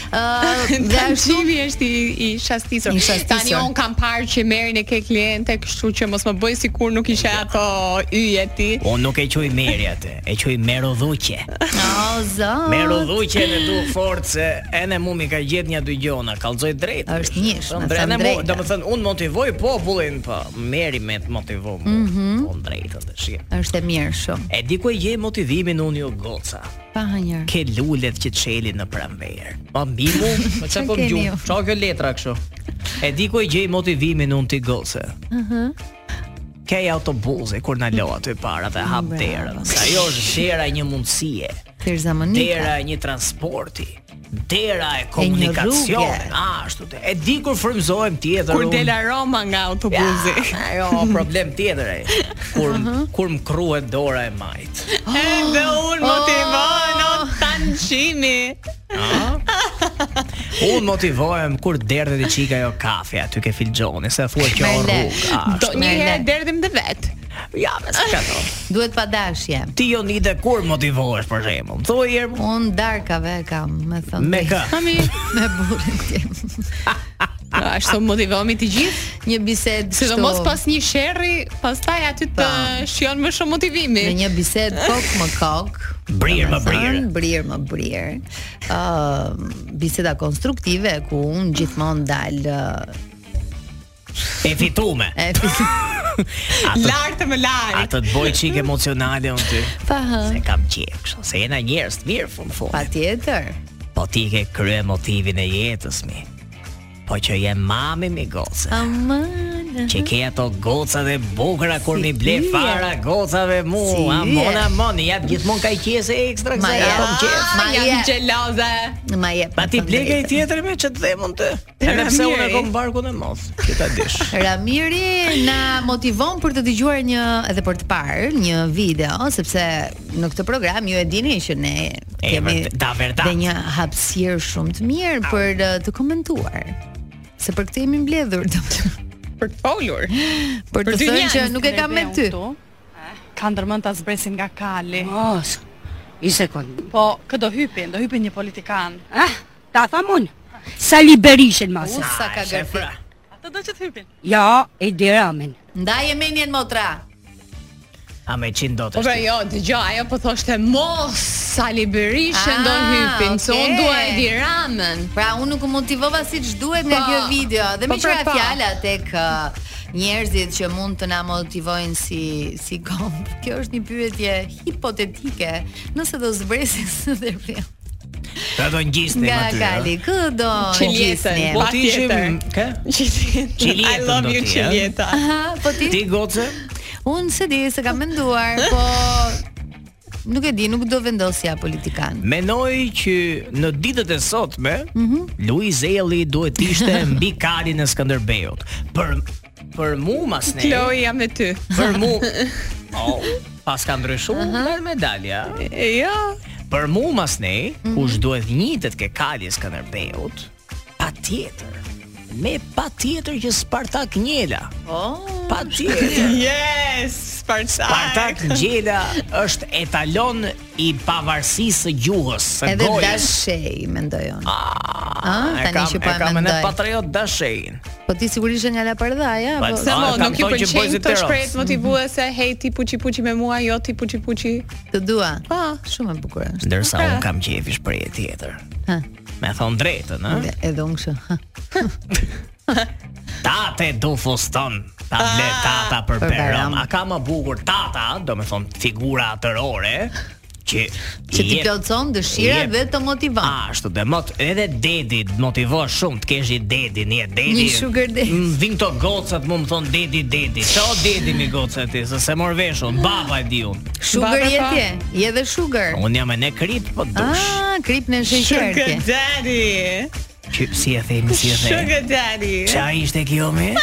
Ë dhe ashtu Tantimi është i, i shastisur. I shastisur. Tani un kam parë që merrin e ke kliente, kështu që mos më bëj sikur nuk ishe ato yje ti. Unë nuk e quj Meri atë, e quj Merodhuqe. O zot. Merodhuqe në du fort se ene mu mi ka gjetë një dy gjona, kallzoj drejt. Është njësh, Thënë, me bre, thënë ene mu- drejtë. Domethënë unë motivoj popullin, po Meri me të motivoj mua. Mm Mhm. -hmm. drejtën të shih. Është e mirë shumë. E di ku e gjej motivimin unë jo goca. Pa hënjer. Ke lulet që të çelin në pranverë. Po mbimu, më çfarë po Çfarë keni gjum? ju? Çfarë kjo letra kështu? E di ku e gjej motivimin unë ti goce. Mhm. Kej autobuzi kur na lo aty para dhe hap Bravo. derën. Se Ajo është dera e një mundësie, Terza Monika. dera e një transporti, dera e një komunikacionit, rruge. ashtu te. E di kur frymëzohem tjetër Kur unë. del aroma nga autobusi. Ja, ajo problem tjetër ai. Kur kur më kruhet dora e majt. E dhe Oh. un motivon o tanqimi. Unë motivohem kur derdhet e qika jo kafe aty ke filxhoni, se thua kjo Merle. rrugë. a, Do Ashtu, një herë Merle. derdhim dhe vet. Ja, me s'ka kato. Duhet pa dashje. Ti jo nite kur motivohesh për shembull. Thuaj një herë Un darkave e kam, me thënë. me drejtë. kë. Mami, Me burrin tim. ashtu motivohemi të gjithë. Një bisedë kështu. Sidomos pas një sherri, pastaj aty të Pa. shijon më shumë motivimi. në një bisedë kokë më kokë. Brirë më brirë. Domethënë, Brirë më brirë. Ë biseda konstruktive ku un gjithmonë dal ë, E fitume. e fis- Lartë më A lart. të të bëj qik emocionale unë ty pa hë. Se kam qef kështu Se jena njerëz të mirë fund fundit Patjetër. Po ti ke krye motivin e jetës mi Po që je mami mi goce Ah. Aman. Që ke ato goca dhe bukra kur Si mi ble hyje. fara gocave mu Si si Amon hyje. amon, i jap gjithmonë ka i qese ekstra Ma kësa ja jep. kom qef Ma Jam jep. xheloze. Ma jep. Pa ti me thënë ble i drejtën. tjetër me që të dhemon të Edhe pse unë e kom barkun e mos Që ta dish Ramiri na motivon për të dëgjuar një edhe për të parë një video sepse në këtë program ju e dini që ne E, vërtet- da, vërtet. Dhe një hapësirë shumë të mirë për uh, të komentuar. Se për këtë jemi mbledhur, domethënë, për të folur. për të dy thënë njerëz që nuk e kam me ty. Ka ndërmend ta zbresin nga kali. Mos. I sekond. Po, kë do hypin, do hypin një politikan. Ah, ta tham unë. Sali Berishin mos. U sa ka gërfi. Atë do që të hypin. Ja, e diramin. Ndaje menjen motra. A me qinë do të Po pra jo, dëgjoj, ajo po thoshte mos Sali Berisha do Ah, hypin, se okay. unë dua Edi Ramën. Pra unë nuk u motivova siç duhet nga Po, kjo video dhe po, më qëra pra, po. fjala tek uh, njerëzit që mund të na motivojnë si si gomb. Kjo është një pyetje hipotetike, nëse do zbresin së dërbi. Të do ngjisni Nga aty. Kali, kë do Qiljetën, gjisni? Po Pa ti ishim, tjetër. ke? I Qiljetën love do you ti, eh? Qiljeta. Aha, po ti? Ti goce? Unë se di, se kam menduar, po nuk e di, nuk do vendosja politikan. Menoj që në ditët e sotme, mm Luiz Eli duhet të ishte mbi Kalin e Skënderbeut. Për për mua mas ne. Chloe jam me ty. Për mua. Oh, pas ka ndryshuar merr medalja. E, jo. Për mua mas ne, kush duhet njitet ke Kali e Skënderbeut, patjetër. Me patjetër që Spartak Njela. Oh, Patjetër. Yes, Spartak. Spartak Gjela është etalon i pavarësisë së gjuhës, së edhe gojës. dashej mendoj unë. Ah, tani që po e kam edhe mendoj. patriot dashin. Po ti sigurisht je nga Lapardhaja, Po, apo Se mo, Ah, kam nuk i thonë që pëlqejnë bojzit të Tiranës. shprejt motivuese, hej ti puçi puçi me mua, jo ti puçi puçi. po të dua. Ah, Pa. Shumë e bukur është. Ndërsa un kam qefi shprehje tjetër. Ha. Me thon drejtën, Dhe ë? edhe unë kështu. ha, Tate do fuston, ta ble tata për për Perëm. Perëm. A ka më bukur tata, do me thon figura atërore, që Që ti jep- plotson dëshirat jep- dhe të motivon. Ashtu dhe mot, edhe dedi të motivon shumë të kesh i dedi, një dedi. Një sugar daddy. Më vin këto gocat, më më thon dedi, dedi. Ço dedi mi gocat ti, se se mor vesh unë, baba e di unë. Sugar Baba je pa. ti, je dhe sugar. Unë jam e ne krit, po dush. Ah, krip në sheqer ti. daddy. Që si e themi, si e themi. Sugar daddy. Qa ishte kjo me?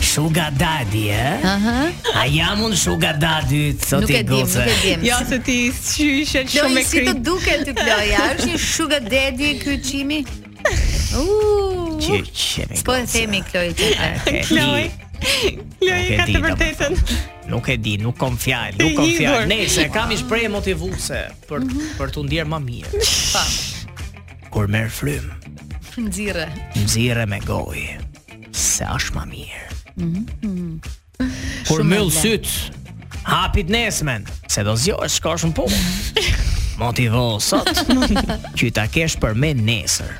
Sugar daddy, eh? Aha. A jam unë sugar daddy, Ah. Nuk sot e i dim, goce. nuk e dim. Jo se ti shyshe shumë Kloj me si të krip. duket ty Kloja, është një sugar daddy ky çimi. Uuu. Që qemi Po e themi Kloj tjetër. Kloj. Kloj Nuk e ka di, të vërtetën. Nuk e di, nuk kom fjalë, nuk E kom hidhur. fjalë. Nëse kam i shpreh motivuese për Mhm. për tu ndier më mirë. Pa. Kur merr frym, Nxirre. nxirre me gojë, se është më mirë. Kur Mhm. Shumë mbyll e vlen. syt, hapit nesmen, se do zgjohesh shkosh në punë. Motivo sot që ta kesh për me nesër.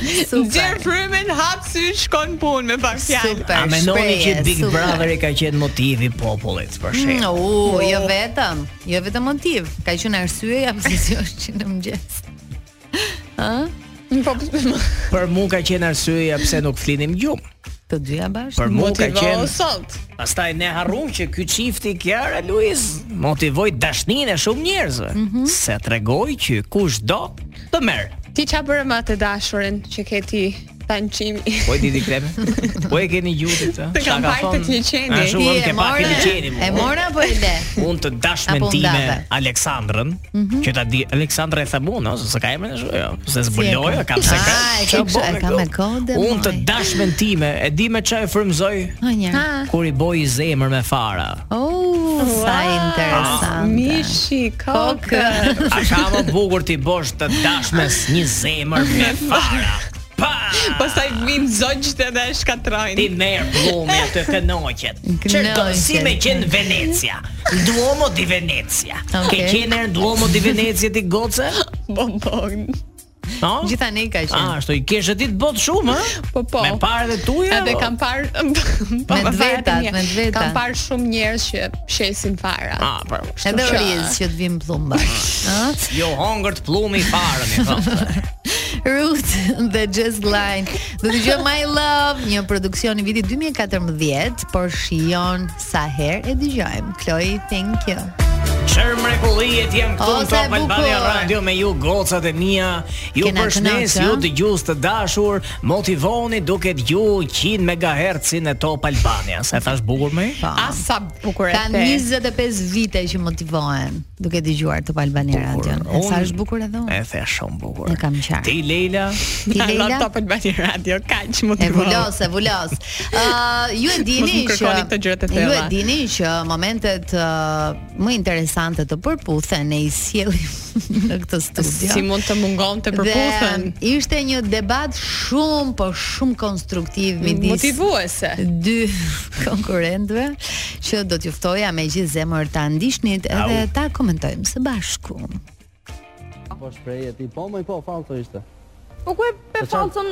Gjer Super. frymen, hap sy, shkon punë me pak fjalë. Super. A mendoni shpreje, që Big super. Brother i ka qenë motivi popullit për shemb? Mm, u, jo vetëm, jo vetëm motiv. Ka qenë arsyeja pse si është që në mëngjes. Po Për mua ka qenë arsyeja pse nuk flinim gjumë. Të dyja bash. Për mua Po ka motivo qenë sot. Pastaj ne harrum që ky çifti Kiara Luiz motivoi dashninë e shumë njerëzve, Mhm. se tregoi që kushdo të merr. Ti qa bërë ma të dashurin që ke ti tanë qimi? Po e diti kreme. Po e keni gjutit, ë? Të kam Çka ka parë të thonë? liçeni. A shumë ke pak more? liçeni. E mora apo e le? Unë të dash me Apo time ndave? Mhm. Aleksandrën, që ta di Aleksandra e thamun, ose se ka emrin ashtu, jo. Se zbuloj, e ka? kam se ka. Ah, e Ç'a ke kështu, bën e ka kjo? me kode, Unë të moj. dash me time, e di me çfarë frymzoj Ha një. kur i boj i zemër me fara. Oh, sa interesant. Mishi, kokë. Kokë. A ka më bukur ti bosh të dashmes një zemër me fara Pa! Pastaj vinë zogjët edhe e shkatrojnë. Ti merë plumi të kënoqet Qërdo, si me qenë Venecia Duomo di Venecia Ke Okej. qenë erë në Duomo di Venecia ti goce? Bonbon. No? Gjithanë i ka A, qenë. ashtu i kesh e ti të botë shumë, ha? Po po. Me parë dhe tuja? Edhe po? kam parë po, Me po, dvetat, farat e mia. me dvetat. Kam parë shumë njerëz që shesin fara. A, po. Edhe Kështu që- oriz që të vim plumba. Ëh? Jo hongër të plumi i farën i thonë. Root dhe Jazz Line. Do të dëgjojmë My Love, një produksion i vitit 2014, por shijon sa herë e dëgjojmë. Chloe, thank you. Çfarë mrekullie të jam këtu O, sa në e Top Albania bukur. Radio me ju gocat e mia. Ju Kena përshëndes kënaqë, ju a? dëgjues të dashur, motivoni duke dëgju 100 MHz-in e Top Albania. Sa e thash bukur më? Po. As sa bukur e Ka the. 25 vite që motivohen duke dëgjuar Top Albani Radio. E Sa është bukur edhe E unë. the shumë bukur. E kam qartë. Ti Leila, Ti Në Leila, Top Albani Radio, kaq më E vulos, e vulos. Ë, ju e dini Mos më që kërkoni këto gjërat e Ju e thella. dini që momentet ë, më interesante të përputhen ne i sjellim në këtë studio. Si mund të mungon të përputhen. Dhe ishte një debat shumë po shumë konstruktiv midis Motivuese. dy konkurentëve që do t'ju ftoja me gjithë zemër ta ndiqnit edhe Au. ta komentojmë së bashku. Po shprehje ti, po më po falso ishte. Mm, Po ku e pe falcën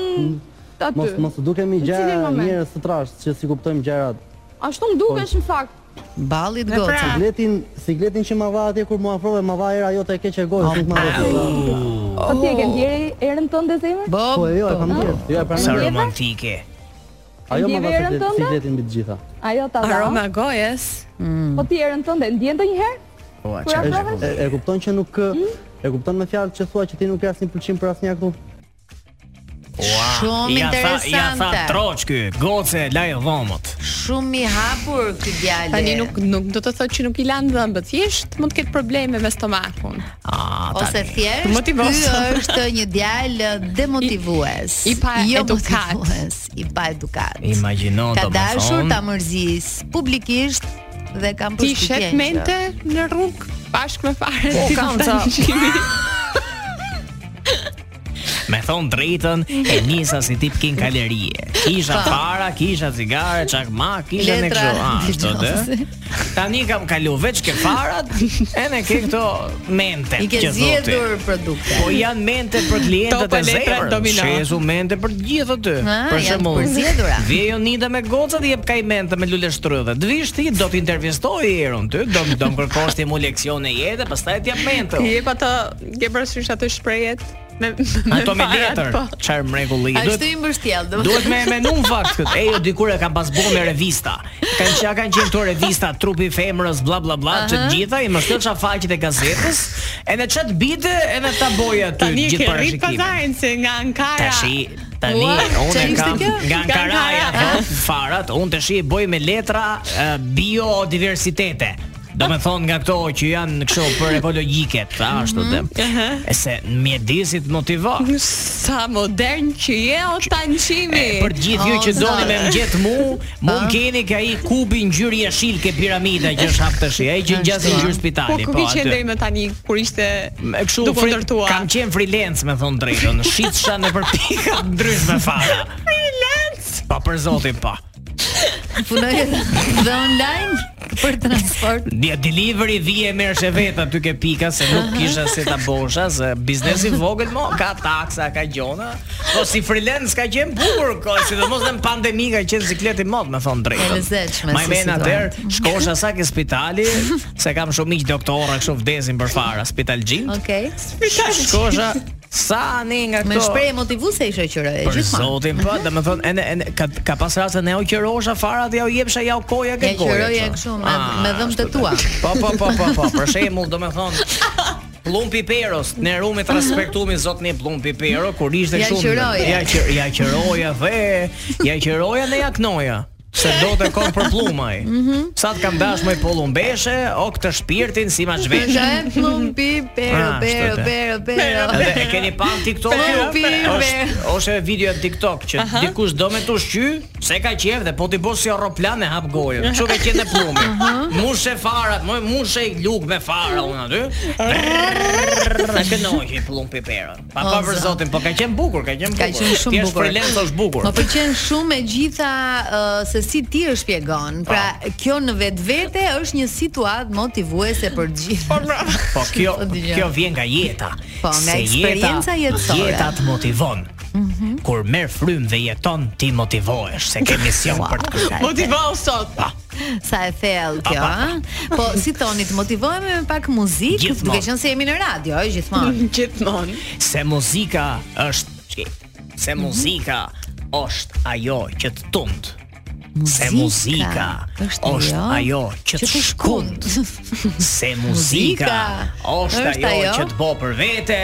aty? Mos mos u dukemi Në gjëra cilin moment? njerëz të trash, që si kuptojmë gjërat. Ashtu më dukesh në fakt. Ballit pra, goca. Sigletin, sigletin që ma vha atje kur më afrove, ma vha era jote e keq e gojës, nuk ma vha. Po ti e ke ndjerë erën tënde zemër? Bo, Po jo, e kam dhënë. Jo, e sa pranoj. romantike. Ajo Ndjeve ma vha erën siglet- tënde? sigletin mbi të gjitha. Ajo ta dha. Aroma gojes. Po ti erën tënde ndjen ndonjëherë? Po, Kur çfarë? afrohen? E, e kupton që nuk e kupton me fjalë që thua që ti nuk ke asnjë pëlqim për asnjë këtu. Shumë ja tha, ja tha interesante. troç ky, goce laj dhomët. Shumë i hapur ky djalë. Tani nuk nuk do të thotë që nuk i lan dhëmbët, thjesht mund të ketë probleme me stomakun. Po, Ah, tani. ose thjesht Motivos. ky është një djalë demotivues. I- i pa jo edukat. motivues, I pa edukat. Imagjino Ka domethënë. dashur ta mërzis publikisht dhe kam Ti përshtypjen. shet që- mente në rrugë bashkë me fare. Po, si kam të ca. shihni. Me thonë drejtën e nisa si tip kin kalorie Kisha para, kisha cigare, çakma, kisha ne Letra, kështu A, çdo dëgjose. dhe Tani kam kalu veç ke farat E ne ke këto mente I ke që thotë ti. zgjedhur produkte. Po janë mente për klientët Topa e letra zemrës. domino. Shesu mente për gjithë aty. Ah, Për janë shembull, përzgjedhura. vje Jonida me gocat i jep kaj mente me lule shtrydhe. Dvish ti do t'intervistoj erën ty, do do më kërkosh ti mu leksione jetë, pastaj t'jap mente. Po. I jep ato ke parasysh ato shprehet me Ato me farat, letër. po. Çfarë mrekulli. Ashtu Duhet- i mbështjell, do. Duhet me me në fakt këtë. E jo dikur e kam pas bërë me revista. Kan çka kanë qenë këto revista trupi i femrës bla bla bla, ç't gjitha i mos ç'a faqet e gazetës, edhe ç't bite edhe ta boja aty Tani gjithë ke rrit parashikimin. pazarin se nga Ankara. Tashi, tani unë ishte kam kjo? nga Nga Ankaraja Ankara. do farat, unë të shi e boj me letra eh, biodiversitete. Do me thonë nga këto që janë kështu për ekologjike, ta ashtu dhe. E se mjedisit motivon. Sa modern që je o tanqimi. E, për të gjithë ju që O, doni me mgjet mu, mu Po. keni ka i kubi ngjyrë jeshil ke piramida që është hap tash. Ai që ngjas në Ashtu, ngjyrë Po spitali, ku po ke qenë deri aty. më tani kur ishte Me kështu duke fri- ndërtuar? kam qenë freelance me thon drejtën, shitsha në për pika ndryshme fara. Freelance. Po për zotin po. Punoj edhe- dhe online për transport. Dia delivery vije merresh e vet aty ke pika se nuk kisha se ta bosha, se biznesi i vogël mo ka taksa, ka gjona. Po si freelance ka qenë bukur, ko sidomos në pandemi ka qenë sikleti mod, me thon drejtën. E lezetshme, Ma si men situatë. atëherë shkosha sa ke spitali, se kam shumë miq doktorë kështu vdesin për fara, spitalgjin. Okej. Shkosha sa ne nga Me këto shprehje motivuese i shoqëroj Për gjithmonë. zotin po, dhe me thonë, ene, ene, ka, ka pas raste ne u qërosha farat, ja u jepsha, ja u koja Ja ke goja. qëroje kështu. kështu me, Ah, me dhëmë të ashtu tua Po po po po po, për shembull domethën Plumpi Peros, ne rumit respektumi zotni Plumpi Pero, kur ishte Ja shumë qiroje. ja qir, ja qiroja dhe ja qiroja ne ja knoja. Se do të kon për plumaj. Mhm. Sa të kam dashur me polumbeshe, o këtë shpirtin si ma zhvesh. Nga e plumpi, pero, Ah, pero, shtete. pero, pero Edhe e keni pa në TikTok? Plumpi, Është pero. ose video në TikTok që dikush do me të ushqy, se ka qejf dhe po ti bosh si aeroplan e hap gojën. Kështu ka qenë e plumi. Mushe farat, më mushe lug me fara unë aty. Sa kënoqi plumpi pera. Pa pa O, për zot. zotin, po ka qenë bukur, ka qenë Ka bukur. qenë Ti shumë je bukur. po, freelance është bukur. Më pëlqen shumë e gjitha ë, se si ti e shpjegon. Pra, kjo në vetvete është një situatë motivuese për të gjithë. Po kjo Po, dëgjoj. kjo vjen nga jeta. Po, nga Se jeta- eksperienca jetësore. Mhm. Jeta të motivon. Kur merr frym dhe jeton, ti motivohesh se ke mision për të kërkuar. Motivau sot. Sa e thellë kjo, Pa, pa, ha? Po, si thoni, të motivohemi me pak muzikë, Gjithmonë. duke qenë se jemi në radio, ë, gjithmonë. Gjithmonë. se muzika është bashki se muzika është ajo që të tund. Se muzika Muzika është jo është ajo që të shkund. Se muzika është ajo që të bë për vete.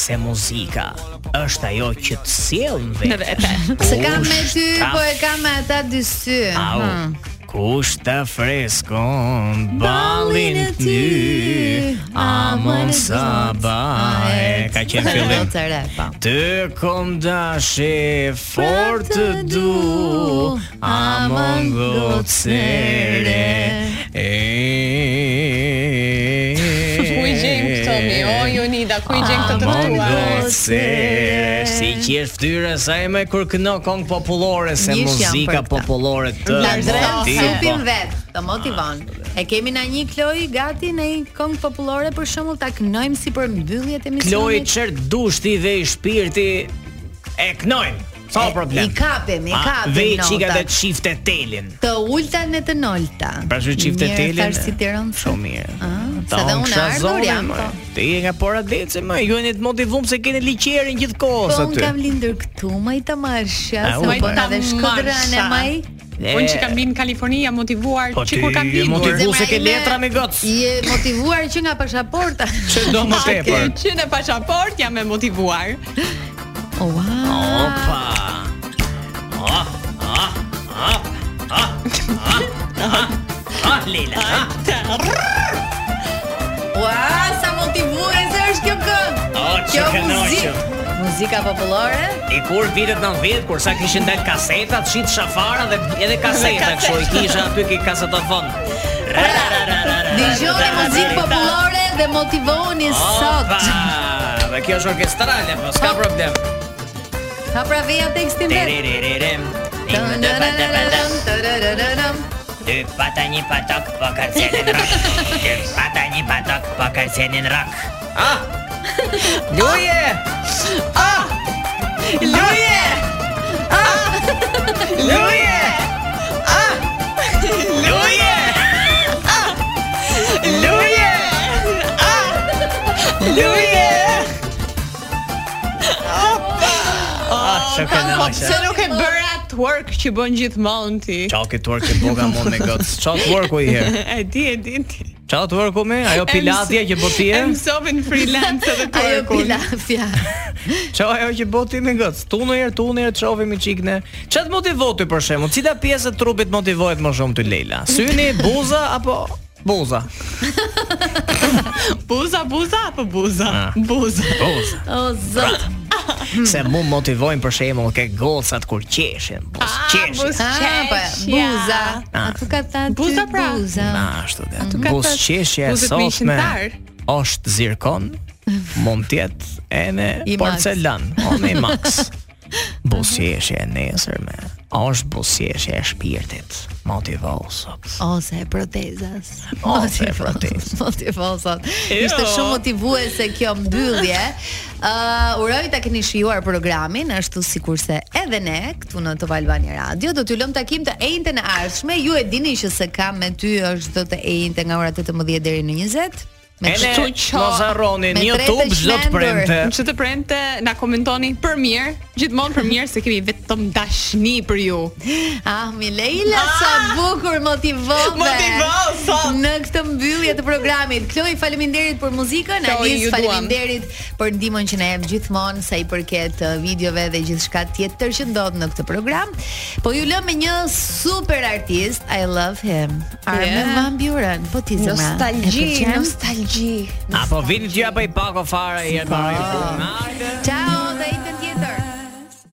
Se muzika është ajo që të sjell në Në vete. vete. Se kam me Kush ty, ta po e kam me ata dy sy. Au. Hmm. Kush të freskon ballin e ty Amon sabah E, Ka qenë fillim Të re, po. Të kom dashe fort Pra të du Amon gocere Ku i gjen këto mi? O Jonida, ku i gjen këto të Amon ftuar? gocere Si që është fytyra sa e me kur këno kong popullore Se Mish jam për muzika këta. popullore të Na drejt motivon. supin po. vet, të motivon. E kemi na një Kloj gati në një këngë popullore për shembull ta kënojmë si për mbylljet e Kloj misionit. çert dushti dhe i shpirti e knojnë. Sa E, problem? i kapim, i A, kapim Dhe i çika notat. të çifte telin. Të ulta në të nolta. Pra që çifte Mirë, telin. farë si Tiranë. Shumë mirë. Ah, Ta se dhe unë unë kisha ardhur zonën, jam, më. po. Ti je nga Poradece, më. Ju jeni të motivum se keni liqerin gjithkohës Po unë aty. kam lindur këtu, më i tamarshja, A, se u, po e. na dhe shkodrën e Tamarshja. maj. E, Unë që kam binë në Kaliforni jam motivuar Po që kur kam ti je lindur. motivu- Zemra se ke ime letra me gocë. Je motivuar që nga pasaporta. Që do më Ake, tepër. Që në pashaport jam e motivuar. Oh, Wow. Opa. Ah, ah, ah, ah, ah, ah, ah, Lila, ah. Ua, sa motivuese është kjo këngë. O, që kjo kënaqem. muzikë. Muzika popullore? E kur vitet 90 kur sa kishin dal kasetat, shit shafara dhe Pra, edhe kaseta kështu i kisha aty ke kasetofon. pra, Dëgjoni muzikë popullore dhe motivohuni sot. Opa! Dhe kjo është orkestrale, po s'ka problem. Ka pra veja tekstin vet. Tiriririm. Im dë pa dë pa dë. Tadadadadam, tadadadadam. Dy pata një patak po kërcenin rak. Dy pata një patak po kërcenin rak. Ah! Luje! Ah! Luje! Ah! Luje! Ah! Luje! Ah! Luje! Ah! Luje! Ah, shokë në Se nuk e bëra twerk që bën gjithmonë ti. Çaki twerk e boga mund me gocë. Çao twerku i herë. E di, e di. ti. Çao twerku me ajo pilatja që boti E e. mësove në freelance edhe Ajo twerkun. pilafja. Çao ajo që boti me gocë. Tu në herë, tu në herë çovim i çikne. Ç'a të motivon ty për shembull? Cila pjesë e trupit motivohet më shumë ty Leila? Syni, buza apo buza? Buza, buza apo buza? Ah. Buza. Buza. O zot. Se mu motivojnë për shembull ke gocat kur qeshin, buz Ah, qeshin. buz Ah, po, qeshja. buza. Ah. Atu ka ta Buza pra. Buza. Na ashtu dhe Mhm. aty ka buz pas- qeshje e buzët me sotme. qintar. Është zirkon, mund të jetë edhe I Max. porcelan, o me Max. Busjeshje e nesërme, është busjeshje e shpirtit, motivou sot. Ose e protezas. Ose e protezas. Motivosat. Jo. Ishte shumë motivuese kjo mbyllje. Uh, uroj ta keni shijuar programin ashtu sikurse edhe ne këtu në Top Albania Radio. Do t'ju lëm takim të ejnëte në ardhshme. Ju e dini që se kam me ty është do të ejnëte nga ora 18 deri në 20. Me Ene, kështu që- mos me harroni, në tretë YouTube çdo të shmendur. premte. Në që të premte, na komentoni për mirë, gjithmonë për mirë, se kemi vetëm dashni për ju. Ah, mi Leila, sa Ah! bukur motivove. Motivo, sot. Në këtë mbyllje të programit. Kloj, faleminderit për muzikën, Kloj, Anis ju duam. faleminderit për ndihmën që na jep gjithmonë sa i përket eh, videove dhe gjithçka tjetër që ndodh në këtë program. Po ju lëm me një super artist, I love him. Armin Yeah. Van Buren. Po ti zemra. e pëlqen? nostalgji. Apo vini t'ju apo i pako fare i e marrë i punë. Ciao.